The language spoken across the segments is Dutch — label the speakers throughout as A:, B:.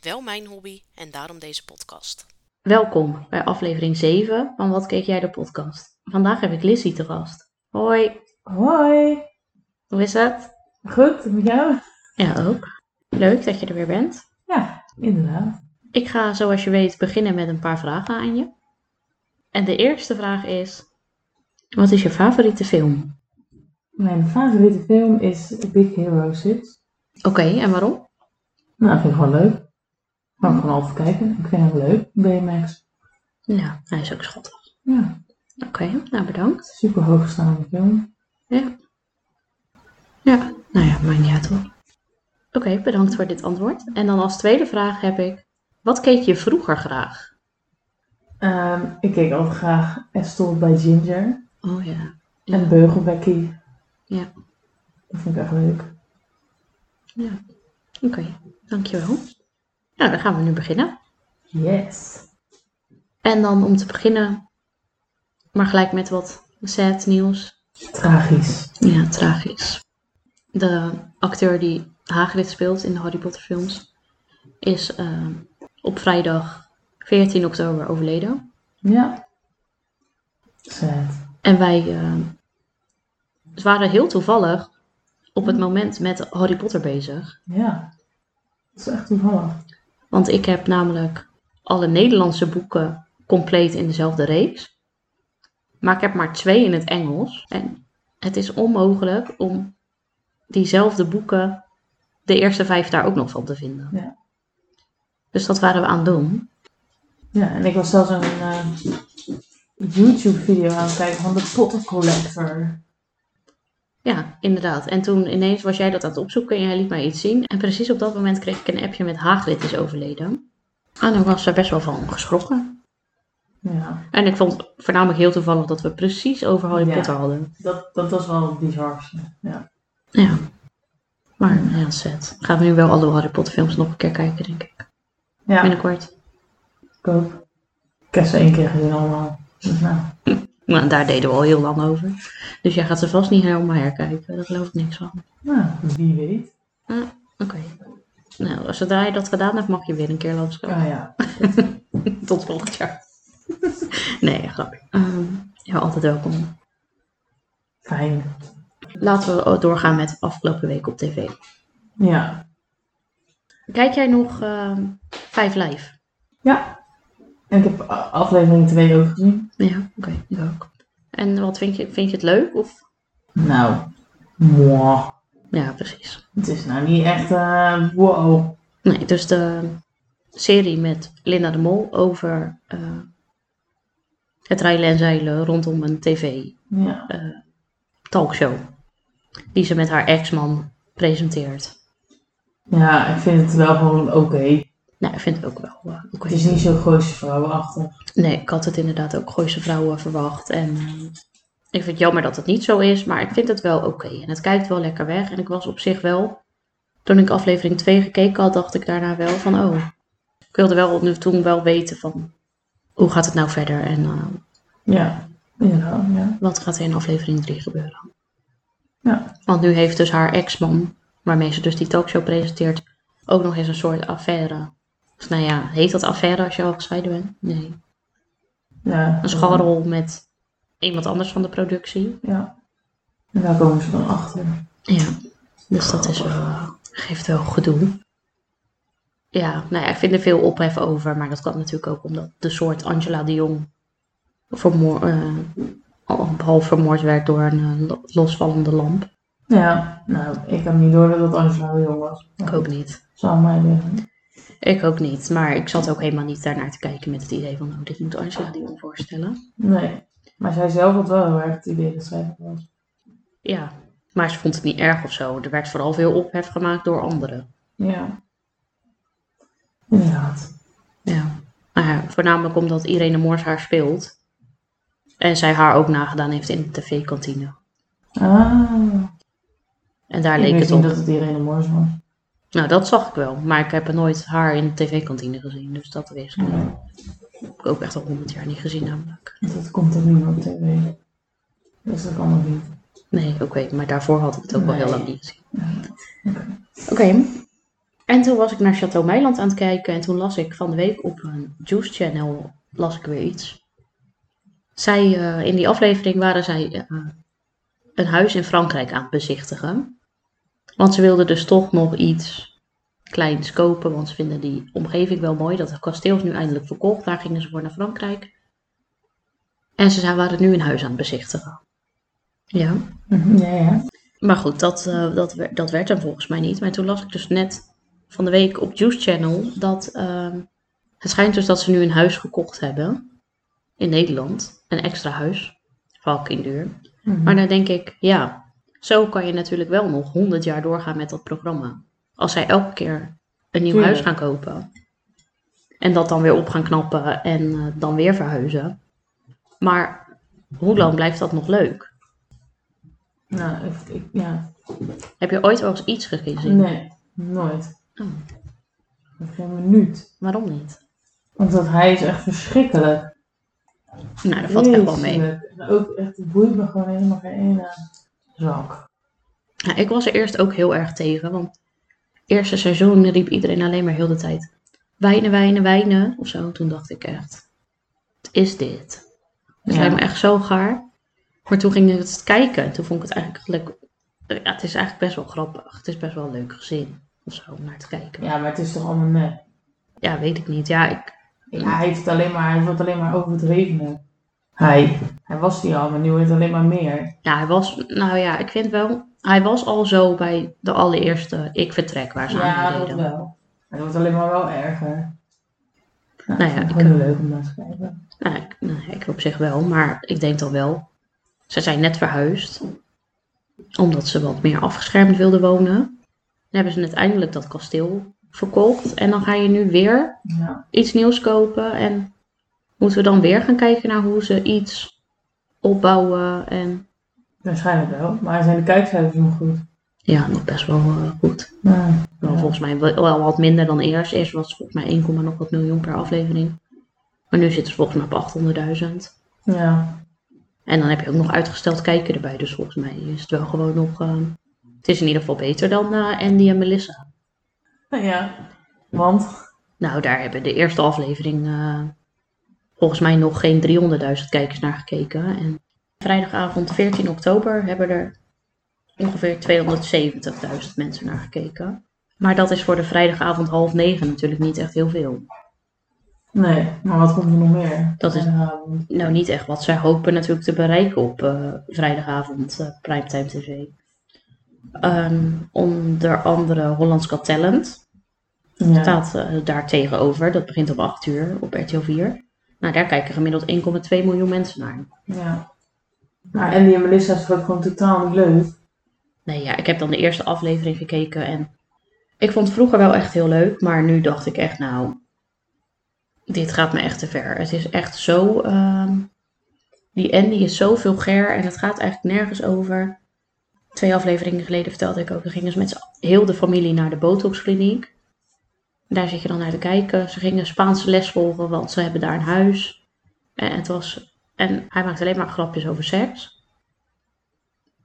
A: wel mijn hobby en daarom deze podcast.
B: Welkom bij aflevering 7 van Wat keek jij de podcast. Vandaag heb ik Lizzie te gast. Hoi,
C: Hoi,
B: hoe is het?
C: goed, en met jou?
B: Ja, ook. Leuk dat je er weer bent.
C: Ja, inderdaad.
B: Ik ga zoals je weet beginnen met een paar vragen aan je. En de eerste vraag is, wat is je favoriete film?
C: Mijn favoriete film is Big Hero 6.
B: Oké, en waarom?
C: Nou, dat vind ik gewoon leuk. Kan ik gewoon altijd kijken. Ik vind het leuk, BMX.
B: Ja, hij is ook schattig.
C: Ja,
B: Oké, nou bedankt.
C: super hoogstaande film.
B: Ja. Ja, nou ja, maakt niet uit hoor. Oké, bedankt voor dit antwoord. En dan als tweede vraag heb ik, wat keek je vroeger graag?
C: Ehm, ik keek altijd graag Estelle bij Ginger
B: Oh ja.
C: en Beugel bij Key.
B: Ja.
C: Dat vind ik echt leuk.
B: Oké, dankjewel. Nou, dan gaan we nu beginnen.
C: Yes.
B: En dan om te beginnen, maar gelijk met wat sad nieuws.
C: Tragisch.
B: Ja, tragisch. De acteur die Hagrid speelt in de Harry Potter films is eh, op vrijdag 14 oktober overleden.
C: Ja. Sad.
B: En wij eh, waren heel toevallig op het moment met Harry Potter bezig.
C: Ja. Dat is echt toevallig.
B: Want ik heb namelijk alle Nederlandse boeken compleet in dezelfde reeks. Maar ik heb maar twee in het Engels. En het is onmogelijk om diezelfde boeken, de eerste vijf, daar ook nog van te vinden.
C: Ja.
B: Dus dat waren we aan het doen.
C: Ja, en ik was zelfs een eh, YouTube-video aan het kijken van de Potter Collector.
B: Ja, inderdaad. En toen ineens was jij dat aan het opzoeken en jij liet mij iets zien. En precies op dat moment kreeg ik een appje met Hagrid is overleden. En dan was er best wel van geschrokken.
C: Ja,
B: En ik vond voornamelijk heel toevallig dat we precies over Harry
C: Ja.
B: Potter hadden.
C: dat, dat was wel bizar. Ja.
B: Ja. Maar ja, zet. Gaan we nu wel alle Harry Potter films nog een keer kijken, denk ik.
C: ja,
B: Binnenkort.
C: ik ook. Ik heb ze één keer gezien allemaal. Dus nou,
B: Nou, daar deden we al heel lang over. Dus jij gaat ze vast niet helemaal herkijken. Daar geloof ik niks van.
C: nou, wie weet.
B: Oké. Nou, zodra je dat gedaan hebt, mag je weer een keer langskomen.
C: Ah ja,
B: Tot volgend jaar. nee, grapje. Ehm, ja, altijd welkom.
C: fijn.
B: Laten we doorgaan met afgelopen week op tv.
C: Ja.
B: Kijk jij nog ehm Vijf Live?
C: Ja. En ik heb a- aflevering 2 ook gezien.
B: Ja, oké. ik ook. En wat vind je, vind je het leuk? Of?
C: Nou, mwah.
B: Ja, precies.
C: Het is nou niet echt eh, wow.
B: Nee, dus de serie met Linda de Mol over eh, het rijden en zeilen rondom een
C: Ja.
B: tv-talkshow. Die ze met haar ex-man presenteert.
C: ja, ik vind het wel gewoon oké.
B: Nou, ik vind het ook wel eh, oké.
C: Het is niet zo gooise vrouwenachtig.
B: Nee, ik had het inderdaad ook Gooise Vrouwen verwacht. En eh, ik vind het jammer dat het niet zo is, maar ik vind het wel oké. En het kijkt wel lekker weg. En ik was op zich wel, toen ik aflevering 2 gekeken had, dacht ik daarna wel van, oh. Ik wilde wel nu toen wel weten van, hoe gaat het nou verder? En eh,
C: Ja, inderdaad, ja.
B: Wat gaat er in aflevering 3 gebeuren?
C: Ja.
B: Want nu heeft dus haar ex-man, waarmee ze dus die talkshow presenteert, ook nog eens een soort affaire. Dus nou ja, heet dat affaire als je al gescheiden bent? Nee.
C: ja.
B: Een scharrel met iemand anders van de productie.
C: Ja. En daar komen ze dan achter.
B: Ja, dus dat is wel, geeft wel gedoe. Ja, nou ja, ik vind er veel ophef over, maar dat kan natuurlijk ook omdat de soort Angela de Jong vermoor, eh, al- half vermoord werd door een eh, lo- losvallende lamp.
C: Ja, nou, ik had niet door dat dat Angela de Jong was.
B: Ik hoop niet.
C: Zou mij liggen.
B: Ik ook niet, maar ik zat ook helemaal niet daarnaar te kijken met het idee van, oh, dit moet Angela die me voorstellen.
C: Nee. Maar zij zelf had wel heel erg het idee dat zij dat was.
B: Ja, maar ze vond het niet erg of zo. Er werd vooral veel ophef gemaakt door anderen.
C: Ja. Inderdaad.
B: Ja. Nou ja, voornamelijk omdat Irene Moors haar speelt. En zij haar ook nagedaan heeft in de tv-kantine.
C: Ah,
B: En daar
C: ik
B: leek
C: wist
B: het
C: niet
B: op.
C: dat het Irene Moors was.
B: Nou, dat zag ik wel. Maar ik heb nooit haar in de tv-kantine gezien. Dus dat wist ik.
C: Nee,
B: Heb ik ook echt al honderd jaar niet gezien namelijk.
C: dat komt toch niet meer op tv? Dus dat kan nog niet.
B: Nee, oké. maar daarvoor had ik het ook wel heel
C: Nee.
B: lang niet gezien. Oké. En toen was ik naar Chateau Meiland aan het kijken. En toen las ik van de week op een Juice Channel las ik weer iets. Zij, eh, in die aflevering waren zij eh, een huis in Frankrijk aan het bezichtigen. Want ze wilden dus toch nog iets kleins kopen. Want ze vinden die omgeving wel mooi. Dat kasteel is nu eindelijk verkocht. Daar gingen ze voor naar Frankrijk. En ze zijn- waren nu een huis aan het bezichtigen. Ja. Mhm.
C: Ja, ja.
B: Maar goed, dat, eh, dat, wer- dat werd hem volgens mij niet. Maar toen las ik dus net van de week op Juice Channel dat ehm, het schijnt dus dat ze nu een huis gekocht hebben in Nederland. Een extra huis. Fucking duur. Maar dan denk ik, ja, zo kan je natuurlijk wel nog 100 jaar doorgaan met dat programma. Als zij elke keer een nieuw
C: Tuurlijk.
B: huis gaan kopen. En dat dan weer op gaan knappen en eh, dan weer verhuizen. Maar hoe lang blijft dat nog leuk?
C: Nou, ik, ik- ja.
B: Heb je ooit wel eens iets gezien?
C: Nee, nooit.
B: Oh.
C: Geen minuut.
B: Waarom niet?
C: Want dat hij is echt verschrikkelijk.
B: Nou, dat valt echt wel mee.
C: Vreselijk. En ook echt het boeit me gewoon helemaal geen ene zak.
B: Ja, Nou, ik was er eerst ook heel erg tegen, want eerste seizoen riep iedereen alleen maar heel de tijd wijnen, wijnen, wijnen of zo. Toen dacht ik echt, wat is dit? Het
C: Ja.
B: lijkt me echt zo gaar. Maar toen ging ik het kijken en toen vond ik het eigenlijk, Eh, ja, het is eigenlijk best wel grappig. Het is best wel een leuk gezin of zo om naar te kijken. Ja,
C: Ja, maar het is toch allemaal nep.
B: weet ik niet. Ja, ik,
C: Ja, hij, heeft het alleen maar, hij wordt alleen maar overdreven. Hij. Hij was die al, maar nu wordt het alleen maar meer.
B: ja, hij was, nou ja, ik vind wel, hij was al zo bij de allereerste Ik Vertrek waar ze aan
C: Ja,
B: deden.
C: dat wel. Het wordt alleen maar wel erger. Nou,
B: Nou ja,
C: ik
B: ik,
C: vind het gewoon
B: eh,
C: leuk om naar te kijken.
B: Nou, ik, nou, ik op zich wel, maar ik denk dan wel. Ze zijn net verhuisd, omdat ze wat meer afgeschermd wilden wonen. Dan hebben ze uiteindelijk dat kasteel verkocht. En dan ga je nu weer
C: Ja.
B: iets nieuws kopen. En moeten we dan weer gaan kijken naar hoe ze iets opbouwen. En
C: Waarschijnlijk wel, maar zijn de kijkcijfers nog goed?
B: ja, nog best wel eh, goed.
C: Ja.
B: Wel,
C: Ja.
B: Volgens mij wel, wel wat minder dan eerst. Eerst was het volgens mij 1, nog wat miljoen per aflevering. Maar nu zitten ze volgens mij op 800.000.
C: Ja.
B: En dan heb je ook nog uitgesteld kijken erbij. Dus volgens mij is het wel gewoon nog. eh, het is in ieder geval beter dan eh, Andy en Melissa.
C: Nou ja. Want?
B: Nou, daar hebben de eerste aflevering eh, volgens mij nog geen 300.000 kijkers naar gekeken. En vrijdagavond 14 oktober hebben er ongeveer 270.000 mensen naar gekeken. Maar dat is voor de vrijdagavond half negen natuurlijk niet echt heel veel.
C: Nee, maar wat komt er nog meer?
B: Dat is-
C: Ja,
B: nou niet echt wat zij hopen natuurlijk te bereiken op eh, vrijdagavond eh, Primetime TV. Ehm, onder andere Hollands Got Talent
C: ja.
B: staat eh, daar tegenover. Dat begint om 8 uur op RTL 4. Nou, daar kijken gemiddeld 1,2 miljoen mensen naar.
C: Ja. Maar Andy en Melissa is ook gewoon totaal niet leuk.
B: Nee, ja, ik heb dan de eerste aflevering gekeken en ik vond het vroeger wel echt heel leuk, maar nu dacht ik echt, nou, dit gaat me echt te ver. Het is echt zo, ehm, die Andy is zo vulgair en het gaat eigenlijk nergens over. Twee afleveringen geleden vertelde ik ook, we gingen ze met z'n- heel de familie naar de botoxkliniek. Daar zit je dan naar te kijken. Ze gingen Spaanse les volgen, want ze hebben daar een huis. En, het was, en hij maakt alleen maar grapjes over seks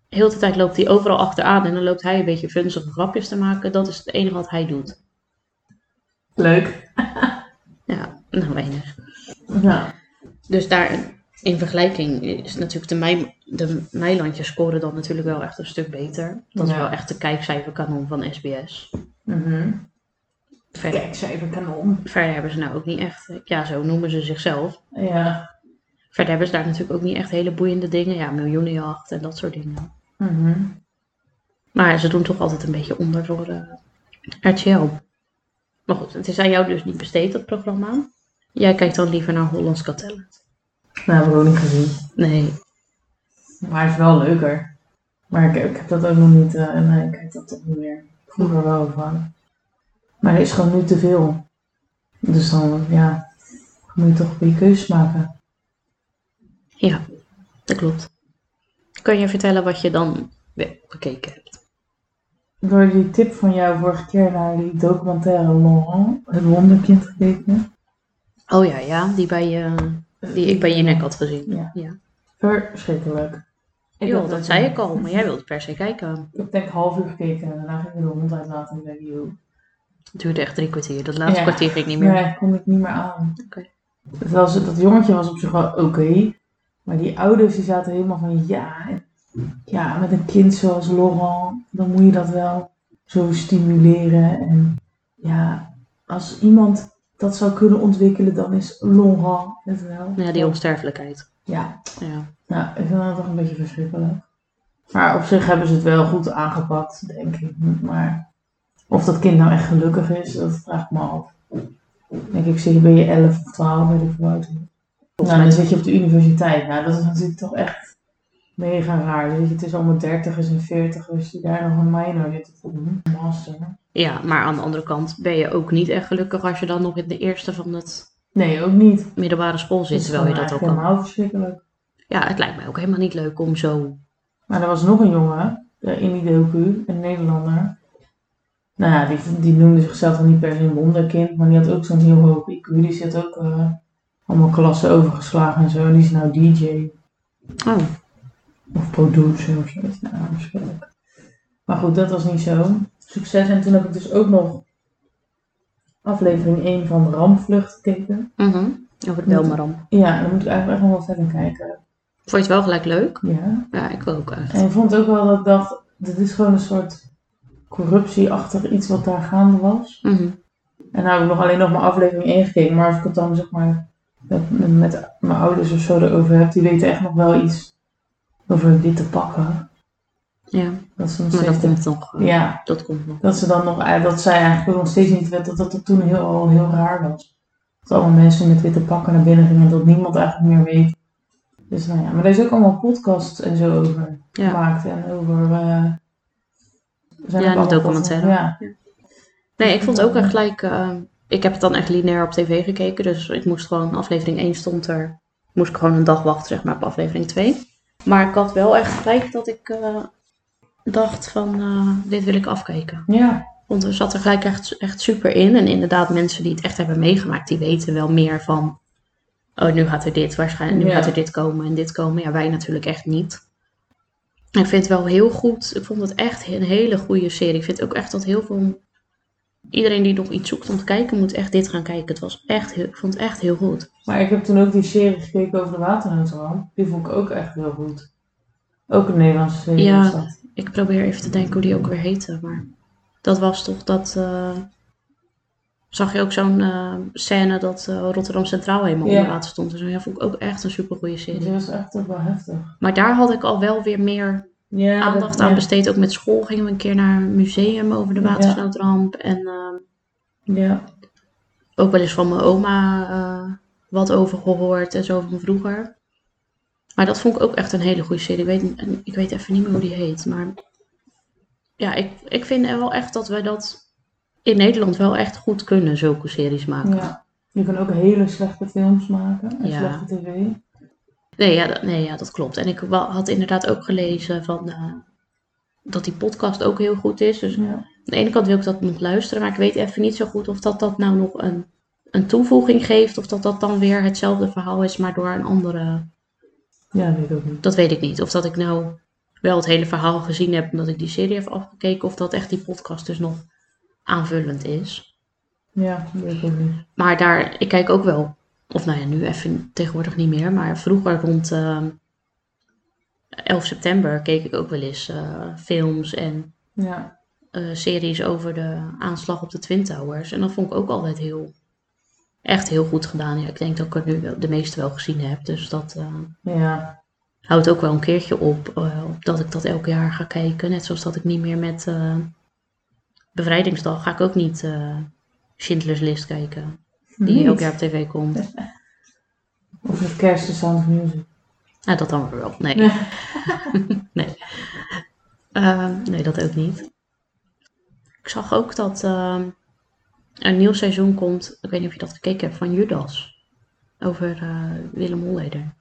B: heel de tijd loopt hij overal achteraan en dan loopt hij een beetje vunzige grapjes te maken. Dat is het enige wat hij doet.
C: Leuk.
B: Ja, nou weinig.
C: Ja.
B: Dus daar in vergelijking is natuurlijk de, mei, de Meilandjes scoren dan natuurlijk wel echt een stuk beter. Dat is
C: Ja.
B: wel echt de kijkcijferkanon van SBS.
C: Mhm.
B: Verder,
C: Kijk, ze even kanon.
B: verder hebben ze nou ook niet echt, ja zo noemen ze zichzelf.
C: Ja.
B: Verder hebben ze daar natuurlijk ook niet echt hele boeiende dingen. Ja, miljoenenjacht en dat soort dingen.
C: Mhm.
B: Maar ze doen toch altijd een beetje onder voor eh, RTL. Maar goed, het is aan jou dus niet besteed, dat programma. Jij kijkt dan liever naar Hollands Got Talent.
C: Nou, heb ik ook niet gezien.
B: Nee,
C: Maar het is wel leuker. Maar ik, ik heb dat ook nog niet. eh, nee, ik kijk dat toch niet meer. Vroeger wel van. Maar er is gewoon nu te veel. Dus dan, ja, moet je toch goede keuzes maken.
B: Ja, dat klopt. Kun je vertellen wat je dan weer bekeken hebt?
C: Door die tip van jou vorige keer naar die documentaire Laurent, het wonderkind gekeken.
B: Oh ja, ja, die, bij, je- die ik bij je nek had gezien.
C: Ja.
B: ja.
C: Verschrikkelijk. Ik
B: Joh,
C: heb
B: dat zei ik al, maar jij wilde per se kijken.
C: Ik heb denk ik half uur gekeken en daarna ging ik de hond uitlaten en ben joh.
B: Het duurde echt drie kwartier. Dat laatste
C: Ja.
B: kwartier ging niet meer.
C: Nee, kom ik niet meer aan.
B: Oké.
C: Het was, dat jongetje was op zich wel oké. maar die ouders die zaten helemaal van ja, ja, met een kind zoals Laurent, dan moet je dat wel zo stimuleren. En ja, als iemand dat zou kunnen ontwikkelen, dan is Laurent het wel.
B: Ja, die onsterfelijkheid.
C: Ja,
B: Ja.
C: nou, ik vind dat toch een beetje verschrikkelijk. Maar op zich hebben ze het wel goed aangepakt, denk ik. Maar of dat kind nou echt gelukkig is, dat vraag ik me af. Denk ik, zeg, ben je 11 of 12, weet ik veel oud. Nou, dan zit je op de universiteit. Nou, dat is natuurlijk toch echt mega raar. Dan zit je tussen allemaal dertigers en veertigers die daar nog een minor zitten te doen. Een Master.
B: Ja, maar aan de andere kant ben je ook niet echt gelukkig als je dan nog in de eerste van het
C: Nee, ook niet.
B: middelbare school zit, terwijl je dat ook
C: ook
B: kan.
C: helemaal verschrikkelijk.
B: Ja, het lijkt mij ook helemaal niet leuk om zo...
C: Maar er was nog een jongen eh, in die docu, een Nederlander. Nou ja, die, die noemde zichzelf dan niet per se een wonderkind, maar die had ook zo'n heel hoog IQ. Die zit ook eh, allemaal klassen overgeslagen en zo. En die is nou DJ
B: Oh,
C: of producer of zoiets. Nou, waarschijnlijk. Maar goed, dat was niet zo. Succes. En toen heb ik dus ook nog aflevering 1 van Rampvlucht gekeken.
B: mhm. over de Belmaram.
C: Ja, daar moet ik eigenlijk echt nog wel verder kijken.
B: Vond je het wel gelijk leuk?
C: Ja.
B: Ja, ik wil ook echt.
C: En ik vond ook wel dat ik dacht, dit is gewoon een soort corruptieachtig iets wat daar gaande was.
B: Mhm.
C: En nou heb ik nog alleen nog mijn aflevering 1 gekeken, maar als ik het dan zeg maar met, met mijn ouders of zo erover heb, die weten echt nog wel iets over dit te pakken.
B: Ja,
C: Dat ze nog
B: maar
C: steeds
B: dat komt nog. eh,
C: Ja,
B: Dat komt nog.
C: dat ze dan nog, eh, dat zij eigenlijk ook nog steeds niet weten dat dat het toen heel, al heel raar was. Dat allemaal mensen met witte pakken naar binnen gingen en dat niemand eigenlijk meer weet. Dus nou ja, maar er is ook allemaal podcasts en zo over
B: Ja.
C: gemaakt en over. eh, er zijn
B: Ja,
C: ook
B: een
C: allemaal
B: documentaire.
C: podcasts. Ja.
B: Nee, ik vond het ook echt gelijk. eh, ik heb het dan echt lineair op tv gekeken. Dus ik moest gewoon, aflevering 1 stond er. Moest ik gewoon een dag wachten, zeg maar, op aflevering 2. Maar ik had wel echt gelijk dat ik eh, dacht van, eh, dit wil ik afkijken.
C: ja,
B: Want er zat er gelijk echt, echt super in. En inderdaad, mensen die het echt hebben meegemaakt, die weten wel meer van... Oh, nu gaat er dit waarschijnlijk, nu
C: Ja.
B: gaat er dit komen en dit komen. Ja, wij natuurlijk echt niet. Ik vind het wel heel goed. Ik vond het echt een hele goede serie. Ik vind ook echt dat heel veel... Iedereen die nog iets zoekt om te kijken, moet echt dit gaan kijken. Het was echt heel, ik vond het echt heel goed.
C: maar ik heb toen ook die serie gekeken over de waternoodramp. Die vond ik ook echt heel goed. Ook een Nederlandse serie.
B: Ja.
C: was dat.
B: Ik probeer even te denken hoe die ook weer heette. Maar dat was toch dat... eh, zag je ook zo'n eh, scène dat eh, Rotterdam Centraal helemaal
C: Ja.
B: onder water stond. en zo. ja, vond ik ook echt een supergoeie serie.
C: Die was echt ook wel heftig.
B: Maar daar had ik al wel weer meer
C: Ja, dat-
B: aandacht aan
C: ja.
B: besteed. Ook met school gingen we een keer naar een museum over de
C: Ja.
B: watersnoodramp. En eh,
C: Ja.
B: ook wel eens van mijn oma eh, wat over gehoord en zo van vroeger. Maar dat vond ik ook echt een hele goede serie. Ik weet, en ik weet even niet meer hoe die heet. Maar ja, ik, ik vind wel echt dat wij dat in Nederland wel echt goed kunnen, zulke series maken.
C: ja. Je kan ook hele slechte films maken en
B: Ja.
C: slechte tv.
B: Nee, ja, dat, nee, ja, dat klopt. En ik wa- had inderdaad ook gelezen van, eh, dat die podcast ook heel goed is. Dus
C: Ja.
B: Aan de ene kant wil ik dat nog luisteren, maar ik weet even niet zo goed of dat, dat nou nog een, een toevoeging geeft. Of dat dat dan weer hetzelfde verhaal is, maar door een andere.
C: ja, weet ik ook niet.
B: Dat weet ik niet. Of dat ik nou wel het hele verhaal gezien heb omdat ik die serie heb afgekeken. Of dat echt die podcast dus nog aanvullend is.
C: Ja, weet ik ook niet.
B: Maar daar, ik kijk ook wel. Of nou ja, nu even tegenwoordig niet meer. Maar vroeger rond eh, 11 september keek ik ook wel eens eh, films en
C: Ja.
B: eh, series over de aanslag op de Twin Towers. En dat vond ik ook altijd heel, echt heel goed gedaan. Ja, ik denk dat ik er nu wel, de meeste wel gezien heb. Dus dat eh,
C: Ja.
B: houdt ook wel een keertje op eh, dat ik dat elk jaar ga kijken. Net zoals dat ik niet meer met eh, Bevrijdingsdag ga ik ook niet eh Schindler's List kijken. Die
C: Niet.
B: elk jaar op tv komt.
C: Of het kerst de Sound of Music.
B: Nou, dat dan weer wel. Nee.
C: Nee.
B: Nee. nee. Ehm, nee, dat ook niet. Ik zag ook dat ehm, een nieuw seizoen komt, ik weet niet of je dat gekeken hebt, van Judas. Over eh, Willem Holleder.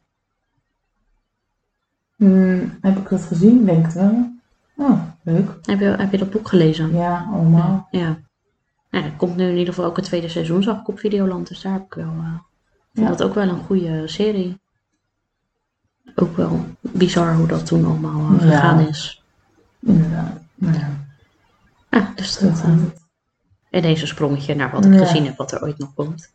C: Hmm, heb ik dat gezien? Denk het wel. Oh, leuk.
B: Heb je, heb je dat boek gelezen?
C: Ja, allemaal.
B: Ja. Nou, er komt nu in ieder geval ook het tweede seizoen, zag ik op Videoland. Dus daar heb ik wel... eh vond
C: Ja.
B: dat ook wel een goede serie. Ook wel bizar hoe dat toen allemaal eh,
C: Ja.
B: gegaan is.
C: Inderdaad. Nou ja,
B: Ja, dus dat...
C: zo
B: eh,
C: gaat het.
B: ineens een sprongetje naar wat ik
C: Ja.
B: gezien heb, wat er ooit nog komt.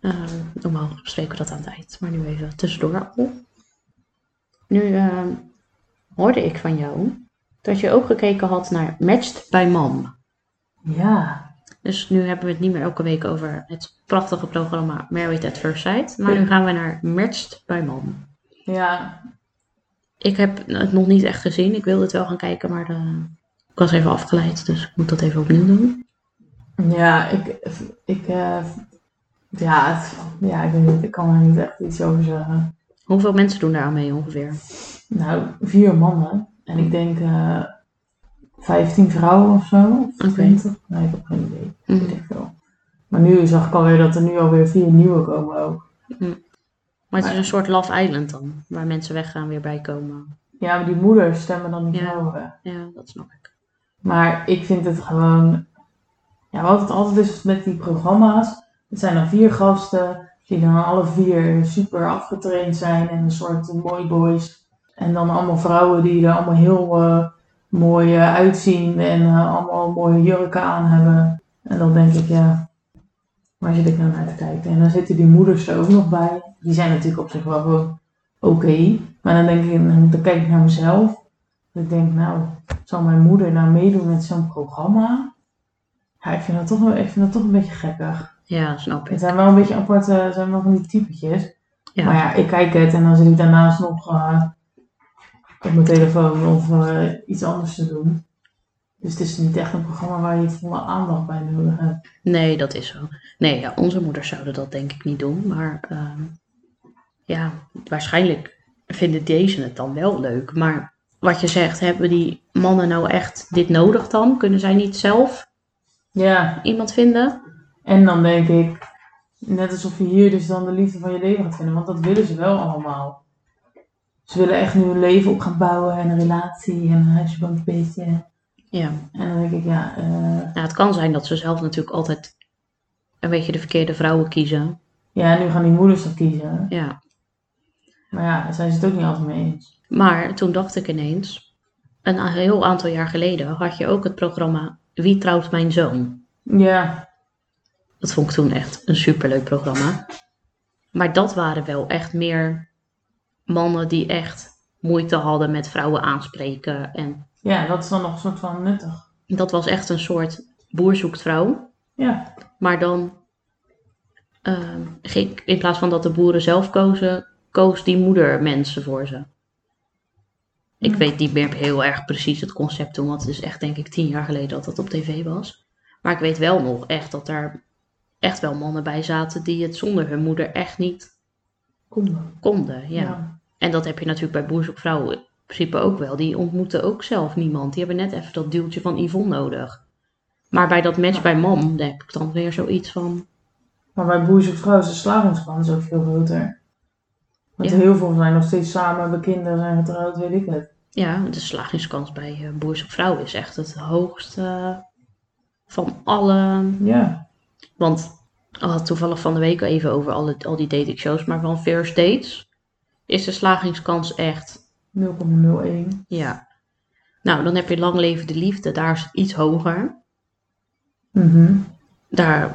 B: Eh, normaal bespreken we dat aan het eind, maar nu even tussendoor, Appel. Nu eh, hoorde ik van jou dat je ook gekeken had naar Matched by Mom.
C: Ja.
B: Dus nu hebben we het niet meer elke week over het prachtige programma Married at First Sight, maar nu gaan we naar Matched by Mom.
C: Ja.
B: Ik heb het nog niet echt gezien, ik wilde het wel gaan kijken, maar eh, ik was even afgeleid, dus ik moet dat even opnieuw doen.
C: Ja, ik... ik eh, ja, het- ja, ik weet niet. Ik kan er niet echt iets over zeggen.
B: Hoeveel mensen doen daar aan mee ongeveer?
C: Nou, vier mannen. En ik denk eh 15 vrouwen of zo. Of
B: Oké.
C: 20. Nee, ik heb geen idee.
B: Mm.
C: Weet ik veel. Maar nu zag ik alweer dat er nu alweer vier nieuwe komen ook.
B: Maar het is
C: Maar-
B: een soort Love Island dan, waar mensen weggaan weer bij komen.
C: Ja, maar die moeders stemmen dan die
B: Ja.
C: vrouwen weg.
B: Ja, dat snap ik.
C: Maar ik vind het gewoon... Ja, wat het altijd is met die programma's. Het zijn dan vier gasten die dan alle vier super afgetraind zijn. En een soort mooi boys. En dan allemaal vrouwen die er allemaal heel eh, mooi eh, uitzien. En eh, allemaal mooie jurken aan hebben. En dan denk ik, ja, waar zit ik nou naar te kijken? En dan zitten die moeders er ook nog bij. Die zijn natuurlijk op zich wel gewoon oké. Maar dan denk ik, dan kijk ik naar mezelf. En ik denk, nou, zal mijn moeder nou meedoen met zo'n programma? Ja, ik vind dat toch, wel- ik vind dat toch een beetje gekkig.
B: Ja, snap
C: Het
B: ik.
C: zijn wel een beetje aparte, het zijn wel van die typetjes.
B: Ja.
C: Maar ja, ik kijk het en dan zit ik daarnaast nog eh, op mijn telefoon of eh, iets anders te doen. Dus het is niet echt een programma waar je volle aandacht bij nodig hebt.
B: Nee, dat is zo. Nee, ja, onze moeders zouden dat denk ik niet doen. Maar ehm, ja, waarschijnlijk vinden deze het dan wel leuk. Maar wat je zegt, hebben die mannen nou echt dit nodig dan? Kunnen zij niet zelf
C: Ja,
B: iemand vinden?
C: en dan denk ik, net alsof je hier dus dan de liefde van je leven gaat vinden. Want dat willen ze wel allemaal. Ze willen echt nu een leven op gaan bouwen en een relatie en een huisje, een beetje.
B: Ja.
C: En dan denk ik, ja, eh,
B: Nou, het kan zijn dat ze zelf natuurlijk altijd een beetje de verkeerde vrouwen kiezen.
C: ja, nu gaan die moeders dat kiezen.
B: Ja.
C: Maar ja, daar zijn ze het ook niet altijd mee eens.
B: Maar toen dacht ik ineens, een a- heel aantal jaar geleden had je ook het programma Wie trouwt mijn zoon?
C: Ja,
B: Dat vond ik toen echt een superleuk programma. Maar dat waren wel echt meer mannen die echt moeite hadden met vrouwen aanspreken. En
C: ja, dat is dan nog een soort van nuttig.
B: dat was echt een soort boer zoekt vrouw.
C: Ja,
B: Maar dan ehm, ging, in plaats van dat de boeren zelf kozen, koos die moeder mensen voor ze. Ik
C: Hmm.
B: weet niet meer heel erg precies het concept toen, want het is echt denk ik tien jaar geleden dat dat op tv was. Maar ik weet wel nog echt dat daar echt wel mannen bij zaten die het zonder hun moeder echt niet
C: kom dan.
B: konden. Ja. En dat heb je natuurlijk bij Boer zoekt Vrouw in principe ook wel. Die ontmoeten ook zelf niemand. Die hebben net even dat duwtje van Yvonne nodig. Maar bij dat match bij Mam daar heb ik dan weer zoiets van...
C: Maar bij boer zoekt vrouw is de slagingskans ook veel groter. Want
B: Ja.
C: heel veel zijn nog steeds samen, hebben kinderen, zijn getrouwd, weet ik het.
B: Ja, de slagingskans bij eh, Boer zoekt Vrouw is echt het hoogste eh, van alle...
C: Ja,
B: Want we hadden toevallig van de week al even over alle, al die dating shows. Maar van First Dates is de slagingskans echt
C: 0,01.
B: Ja. Nou, dan heb je Lang Leven de Liefde. Daar is het iets hoger.
C: Mhm.
B: Daar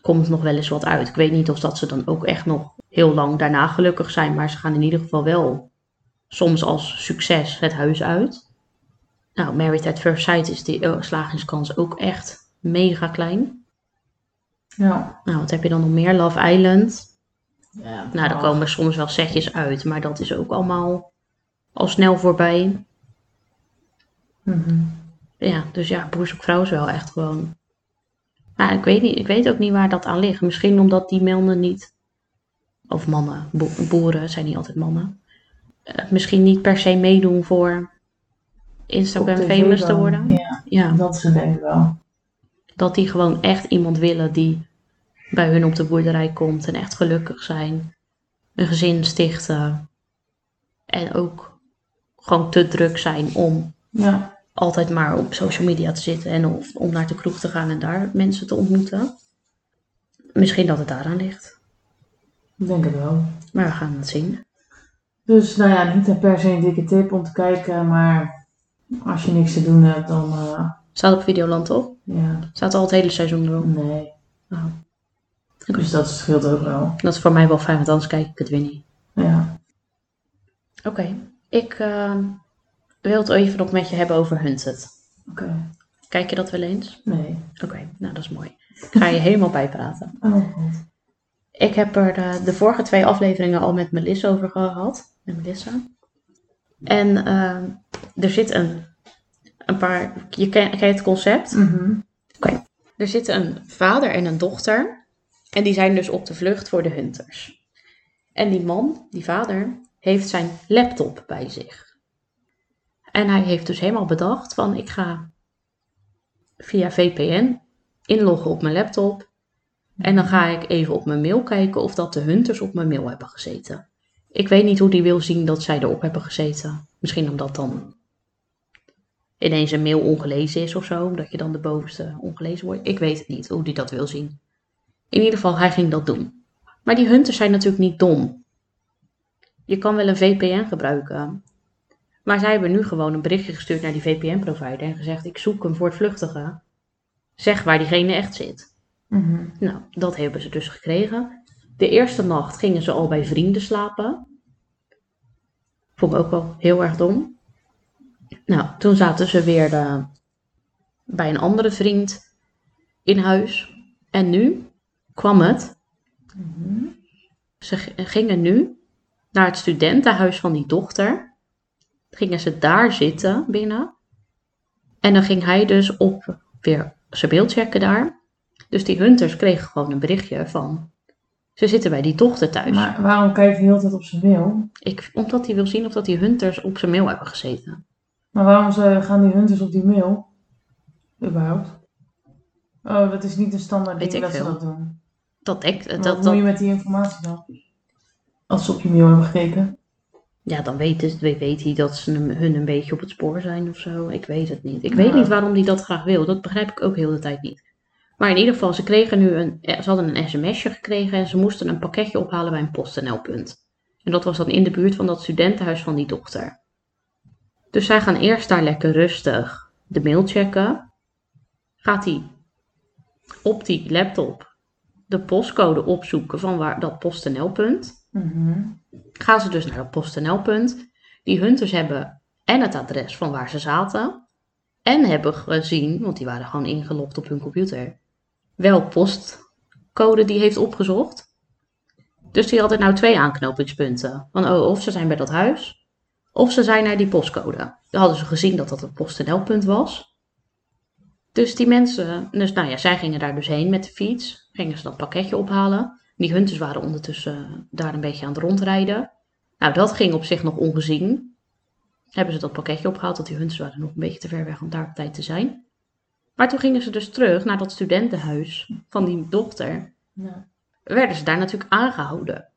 B: komt nog wel eens wat uit. Ik weet niet of dat ze dan ook echt nog heel lang daarna gelukkig zijn. Maar ze gaan in ieder geval wel soms als succes het huis uit. Nou, Married at First Sight is die eh, slagingskans ook echt mega klein.
C: Ja.
B: Nou, wat heb je dan nog meer? Love Island.
C: ja
B: Nou, daar komen soms wel setjes uit. Maar dat is ook allemaal al snel voorbij.
C: Mhm.
B: Ja, dus ja, Boer zoekt vrouw is wel echt gewoon. Maar ik weet, niet, ik weet ook niet waar dat aan ligt. Misschien omdat die mannen niet. Of mannen, bo- boeren zijn niet altijd mannen. eh, misschien niet per se meedoen voor Instagram
C: Op tv
B: famous te
C: dan.
B: worden.
C: Ja,
B: Ja,
C: dat is het denk ik wel.
B: dat die gewoon echt iemand willen die bij hun op de boerderij komt en echt gelukkig zijn. Een gezin stichten. En ook gewoon te druk zijn om
C: Ja.
B: altijd maar op social media te zitten en of, om naar de kroeg te gaan en daar mensen te ontmoeten. Misschien dat het daaraan ligt.
C: Ik denk het wel.
B: Maar we gaan het zien.
C: Dus nou ja, niet een per se een dikke tip om te kijken, maar als je niks te doen hebt, dan eh,
B: Staat op Videoland toch?
C: ja,
B: Staat al het hele seizoen erop.
C: nee.
B: Oh.
C: Dus dat scheelt ook wel.
B: Dat is voor mij wel fijn, want anders kijk ik het weer niet.
C: Ja.
B: Oké, ik eh, wil het even nog met je hebben over Hunted.
C: Oké.
B: Kijk je dat wel eens?
C: Nee.
B: Oké, nou dat is mooi. Ik ga je helemaal bijpraten.
C: Oh god.
B: Ik heb er eh, de vorige twee afleveringen al met Melissa over gehad. Met Melissa. En eh, er zit een, een paar. Je ken, ken je het concept?
C: Mhm.
B: Er zitten een vader en een dochter. En die zijn dus op de vlucht voor de hunters. En die man, die vader, heeft zijn laptop bij zich. En hij heeft dus helemaal bedacht van ik ga via VPN inloggen op mijn laptop. En dan ga ik even op mijn mail kijken of dat de hunters op mijn mail hebben gezeten. Ik weet niet hoe die wil zien dat zij erop hebben gezeten. Misschien omdat dan ineens een mail ongelezen is of zo, omdat je dan de bovenste ongelezen wordt. Ik weet het niet hoe die dat wil zien. In ieder geval, hij ging dat doen. Maar die hunters zijn natuurlijk niet dom. Je kan wel een VPN gebruiken. Maar zij hebben nu gewoon een berichtje gestuurd naar die VPN-provider en gezegd: Ik zoek een voortvluchtige. Zeg waar diegene echt zit.
C: Mhm.
B: Nou, dat hebben ze dus gekregen. De eerste nacht gingen ze al bij vrienden slapen. Vond ik ook wel heel erg dom. Nou, toen zaten ze weer eh, bij een andere vriend in huis. En nu kwam het. Ze g- gingen nu naar het studentenhuis van die dochter. Gingen ze daar zitten binnen. En dan ging hij dus op weer zijn beeld checken daar. Dus die hunters kregen gewoon een berichtje van. Ze zitten bij die dochter thuis.
C: Maar waarom kijkt hij heel tijd op zijn mail?
B: Ik, omdat hij wil zien of dat die hunters op zijn mail hebben gezeten.
C: Maar waarom ze, gaan die hunters op die mail? Überhaupt. Oh, dat is niet de standaard
B: Weet
C: ding
B: ik
C: dat ze
B: veel.
C: dat doen.
B: Dat ik.
C: Maar
B: Dat,
C: wat moet
B: dat,
C: je met die informatie dan? Als ze op je mail hebben gekeken.
B: ja, dan weet, dus, weet hij dat ze hem- hun een beetje op het spoor zijn of zo. Ik weet het niet. Ik
C: Nou.
B: weet niet waarom hij dat graag wil. Dat begrijp ik ook heel de tijd niet. Maar in ieder geval, ze kregen nu een. eh, Ze hadden een sms'je gekregen en ze moesten een pakketje ophalen bij een PostNL-punt. En dat was dan in de buurt van dat studentenhuis van die dochter. Dus zij gaan eerst daar lekker rustig de mail checken. Gaat hij op die laptop de postcode opzoeken van waar, dat PostNL-punt
C: Mhm.
B: gaan ze dus naar dat PostNL-punt. Die hunters hebben en het adres van waar ze zaten. En hebben gezien, want die waren gewoon ingelogd op hun computer, welk postcode die heeft opgezocht. Dus die hadden nou twee aanknopingspunten. Van oh, of ze zijn bij dat huis, of ze zijn naar die postcode. Dan hadden ze gezien dat dat een PostNL-punt was. Dus die mensen, dus nou ja, zij gingen daar dus heen met de fiets. Gingen ze dat pakketje ophalen. Die hunters waren ondertussen eh, daar een beetje aan het rondrijden. Nou, dat ging op zich nog ongezien. Hebben ze dat pakketje opgehaald, want die hunters waren nog een beetje te ver weg om daar op tijd te zijn. Maar toen gingen ze dus terug naar dat studentenhuis van die dochter.
C: Ja.
B: Werden ze daar natuurlijk aangehouden.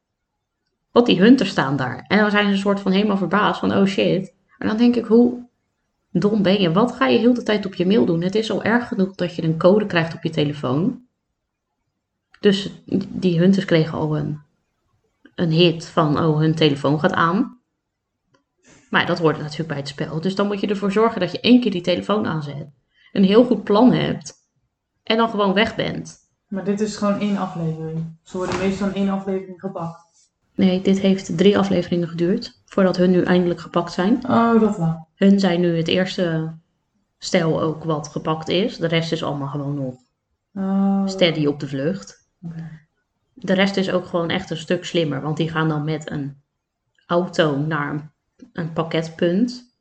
B: Want die hunters staan daar. En dan zijn ze een soort van helemaal verbaasd van oh shit. En dan denk ik, hoe dom ben je? Wat ga je heel de tijd op je mail doen? Het is al erg genoeg dat je een code krijgt op je telefoon. Dus die hunters kregen al een, een hit van, oh, hun telefoon gaat aan. Maar dat hoort natuurlijk bij het spel. Dus dan moet je ervoor zorgen dat je één keer die telefoon aanzet. Een heel goed plan hebt. En dan gewoon weg bent.
C: Maar dit is gewoon één aflevering. Ze worden meestal in één aflevering gepakt.
B: Nee, dit heeft drie afleveringen geduurd. Voordat hun nu eindelijk gepakt zijn.
C: Oh, dat wel.
B: Hun zijn nu het eerste stel ook wat gepakt is. De rest is allemaal gewoon nog
C: Oh.
B: steady op de vlucht.
C: Oké.
B: De rest is ook gewoon echt een stuk slimmer, want die gaan dan met een auto naar een, een pakketpunt.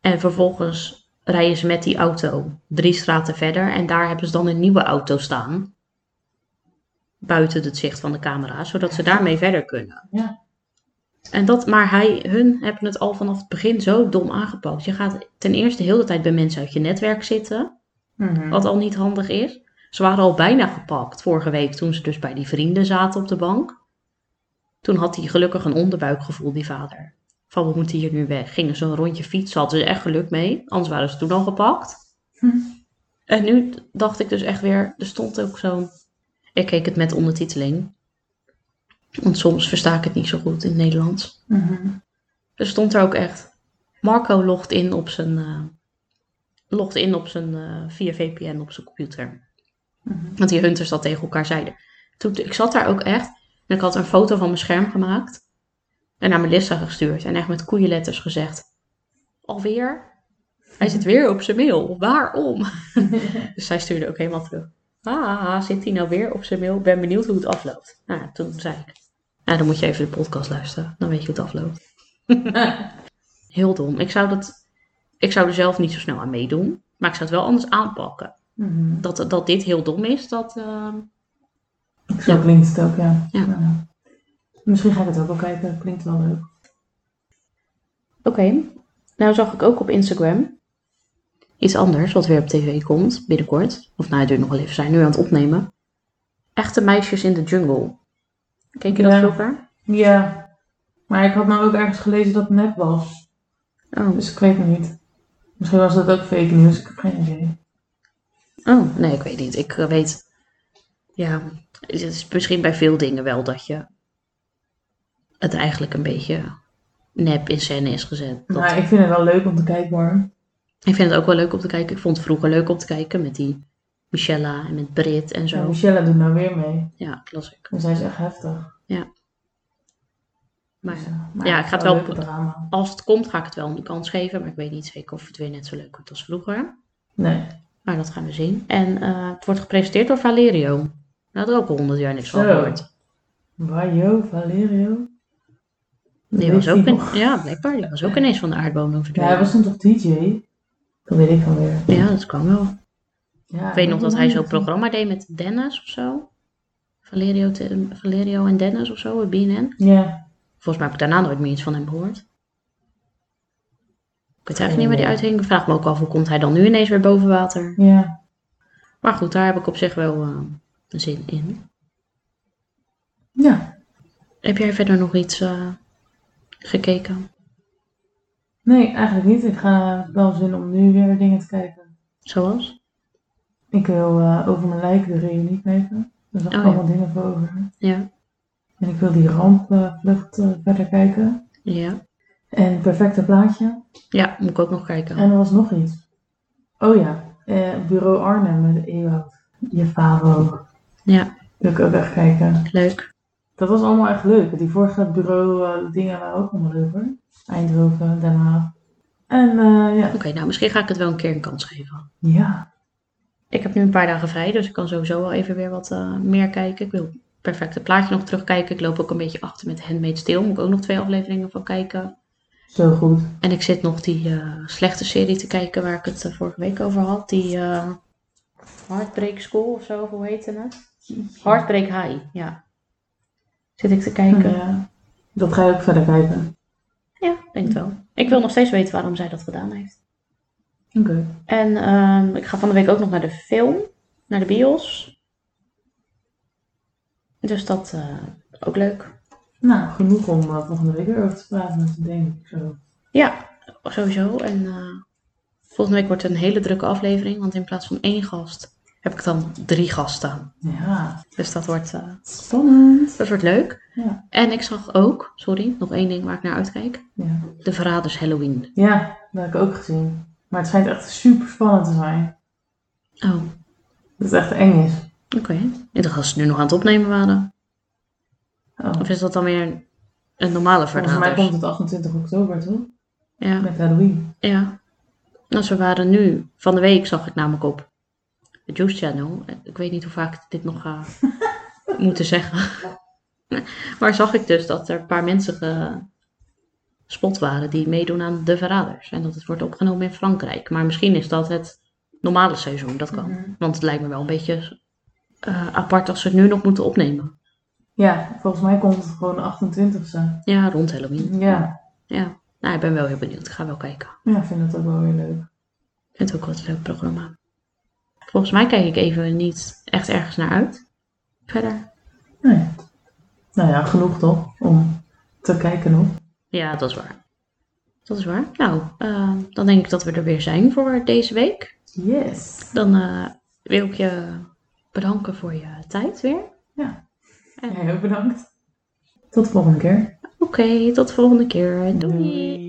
B: En vervolgens rijden ze met die auto drie straten verder en daar hebben ze dan een nieuwe auto staan. Buiten het zicht van de camera, zodat ze daarmee verder kunnen.
C: Ja.
B: En dat, maar hij, hun hebben het al vanaf het begin zo dom aangepakt. Je gaat ten eerste heel de tijd bij mensen uit je netwerk zitten.
C: Mhm.
B: wat al niet handig is. Ze waren al bijna gepakt vorige week toen ze dus bij die vrienden zaten op de bank. Toen had hij gelukkig een onderbuikgevoel, die vader. Van we moeten hier nu weg. Gingen ze een rondje fietsen, hadden ze echt geluk mee. Anders waren ze toen al gepakt.
C: Hm.
B: En nu dacht ik dus echt weer, er stond ook zo'n... Ik keek het met ondertiteling. Want soms versta ik het niet zo goed in het Nederlands.
C: Mhm.
B: Er stond er ook echt. Marco logt in op zijn, eh, logt in op zijn eh, via VPN op zijn computer.
C: Mhm.
B: Want die hunters dat tegen elkaar zeiden. Toen, ik zat daar ook echt. En ik had een foto van mijn scherm gemaakt. En naar Melissa gestuurd. En echt met koeienletters gezegd. Alweer? Hij zit weer op zijn mail. Waarom? dus zij stuurde ook helemaal terug. Ah, zit hij nou weer op zijn mail? Ben benieuwd hoe het afloopt. Nou, toen zei ik. Nou, dan moet je even de podcast luisteren. Dan weet je hoe het afloopt. Heel dom. Ik zou, dat, ik zou er zelf niet zo snel aan meedoen. Maar ik zou het wel anders aanpakken.
C: Mhm.
B: Dat, dat dit heel dom is, dat... ehm,
C: Zo
B: Ja.
C: klinkt het ook, ja.
B: Ja.
C: Ja. Misschien ga ik het ook wel kijken, klinkt wel leuk.
B: Oké. Nou zag ik ook op Instagram iets anders wat weer op tv komt binnenkort. Of nou, het duurt nog wel even. We zijn nu aan het opnemen. Echte meisjes in de jungle. Keek je dat
C: Ja.
B: vroeger?
C: Ja, maar ik had nou ook ergens gelezen dat het nep was.
B: Oh.
C: Dus ik weet het niet. Misschien was dat ook fake news, ik heb geen idee.
B: oh, nee, ik weet niet. Ik eh, weet... Ja, het is misschien bij veel dingen wel dat je... Het eigenlijk een beetje nep in scène is gezet. Dat
C: Maar ik vind het wel leuk om te kijken hoor.
B: Ik vind het ook wel leuk om te kijken. Ik vond het vroeger leuk om te kijken met die Michella en met Brit en
C: Ja,
B: zo.
C: Michelle doet nou weer mee.
B: Ja, klassiek.
C: En zij is echt heftig.
B: Maar
C: Dus,
B: ja,
C: eh, maar
B: Ja, ik ga het wel
C: een leuke
B: op-
C: drama.
B: als het komt ga ik het wel een kans geven. Maar ik weet niet zeker of het weer net zo leuk wordt als vroeger.
C: Nee.
B: Maar dat gaan we zien. En eh, het wordt gepresenteerd door Valerio. Daar had ik ook al honderd jaar niks van
C: Zo.
B: gehoord.
C: Wajo, Valerio.
B: Die
C: Weet
B: was ook
C: nog?
B: in, ja, blijkbaar. Die was ook ineens van de aardbodem
C: Ja,
B: verdwenen.
C: hij
B: Ja,
C: was toen toch DJ? Dat weet ik van weer.
B: dat kan wel.
C: Ja,
B: Ik weet nog dat hij zo'n
C: programma.
B: programma deed met Dennis of zo. Valerio, te- Valerio en Dennis of zo, bij BNN.
C: Ja,
B: Volgens mij heb ik daarna nooit meer iets van hem gehoord. Ik weet eigenlijk niet waar die uithing. Ik vraag me ook af hoe komt hij dan nu ineens weer boven water.
C: ja.
B: Maar goed, daar heb ik op zich wel eh, een zin in.
C: Ja.
B: Heb jij verder nog iets eh, gekeken?
C: Nee, eigenlijk niet. Ik ga wel zin om nu weer dingen te kijken.
B: Zoals?
C: Ik wil eh, over mijn lijk de reunie kijken. Daar zag ik
B: Oh, ja.
C: allemaal dingen voor over.
B: Ja.
C: En ik wil die rampvlucht eh, verder kijken.
B: Ja.
C: En perfecte plaatje.
B: Ja, moet ik ook nog kijken.
C: En er was nog iets. Oh ja, eh, Bureau Arnhem met Ewout. Je Favo.
B: Ja,
C: Wil ik ook echt kijken.
B: leuk.
C: Dat was allemaal echt leuk. Die vorige bureau eh, dingen waren ook allemaal leuk hoor. Eindhoven, Den Haag. En eh, ja.
B: Oké, nou misschien ga ik het wel een keer een kans geven.
C: ja,
B: Ik heb nu een paar dagen vrij, dus ik kan sowieso wel even weer wat eh, meer kijken. Ik wil perfect het plaatje nog terugkijken. Ik loop ook een beetje achter met Handmaid's Tale. Moet ik ook nog twee afleveringen van kijken.
C: zo goed.
B: En ik zit nog die eh, slechte serie te kijken waar ik het eh, vorige week over had. Die eh Heartbreak School of zo, hoe heette het? Heartbreak High, ja. Zit ik te
C: Hm,
B: kijken?
C: ja. Dat ga je ook verder kijken.
B: Ja, ik denk het wel. Ik wil nog steeds weten waarom zij dat gedaan heeft.
C: Oké.
B: En ehm, ik ga van de week ook nog naar de film, naar de bios. Dus dat eh, ook leuk.
C: Nou, genoeg om eh, volgende week weer over te praten met denk ik zo.
B: Ja, sowieso. En eh, volgende week wordt het een hele drukke aflevering, want in plaats van één gast heb ik dan drie gasten.
C: Ja,
B: Dus dat wordt, eh,
C: spannend.
B: dat wordt leuk.
C: Ja.
B: En ik zag ook, sorry, nog één ding waar ik naar uitkijk.
C: Ja.
B: De Verraders Halloween.
C: ja, dat heb ik ook gezien. Maar het schijnt echt super spannend te zijn.
B: Oh, oké.
C: Dat het echt eng is.
B: Ik dacht dat ze nu nog aan het opnemen waren.
C: Oh.
B: Of is dat dan weer een, een normale
C: Volgens mij
B: Verraders?
C: komt het 28 oktober, toch?
B: Ja,
C: Met Halloween.
B: ja. Nou, ze waren nu, van de week zag ik namelijk op de Juice Channel. Ik weet niet hoe vaak ik dit nog ga moeten zeggen. maar zag ik dus dat er een paar mensen gespot waren die meedoen aan De Verraders. En dat het wordt opgenomen in Frankrijk. Maar misschien is dat het normale seizoen, dat kan.
C: Mhm.
B: Want het lijkt me wel een beetje eh, apart als ze het nu nog moeten opnemen.
C: Ja, volgens mij komt het gewoon de 28e.
B: Ja, rond Halloween.
C: Ja.
B: ja. Nou, ik ben wel heel benieuwd. Ik ga wel kijken.
C: ja, ik vind dat ook wel weer leuk.
B: Ik vind het ook wel een leuk programma. Volgens mij kijk ik even niet echt ergens naar uit. Verder.
C: Nee. Nou ja, genoeg toch? Om te kijken nog.
B: Ja, dat is waar. Dat is waar. Nou, eh, dan denk ik dat we er weer zijn voor deze week.
C: Yes.
B: Dan eh, wil ik je bedanken voor je tijd weer.
C: Ja.
B: En-
C: Jij ook bedankt. Tot de volgende keer.
B: Oké, tot de volgende keer. Doei.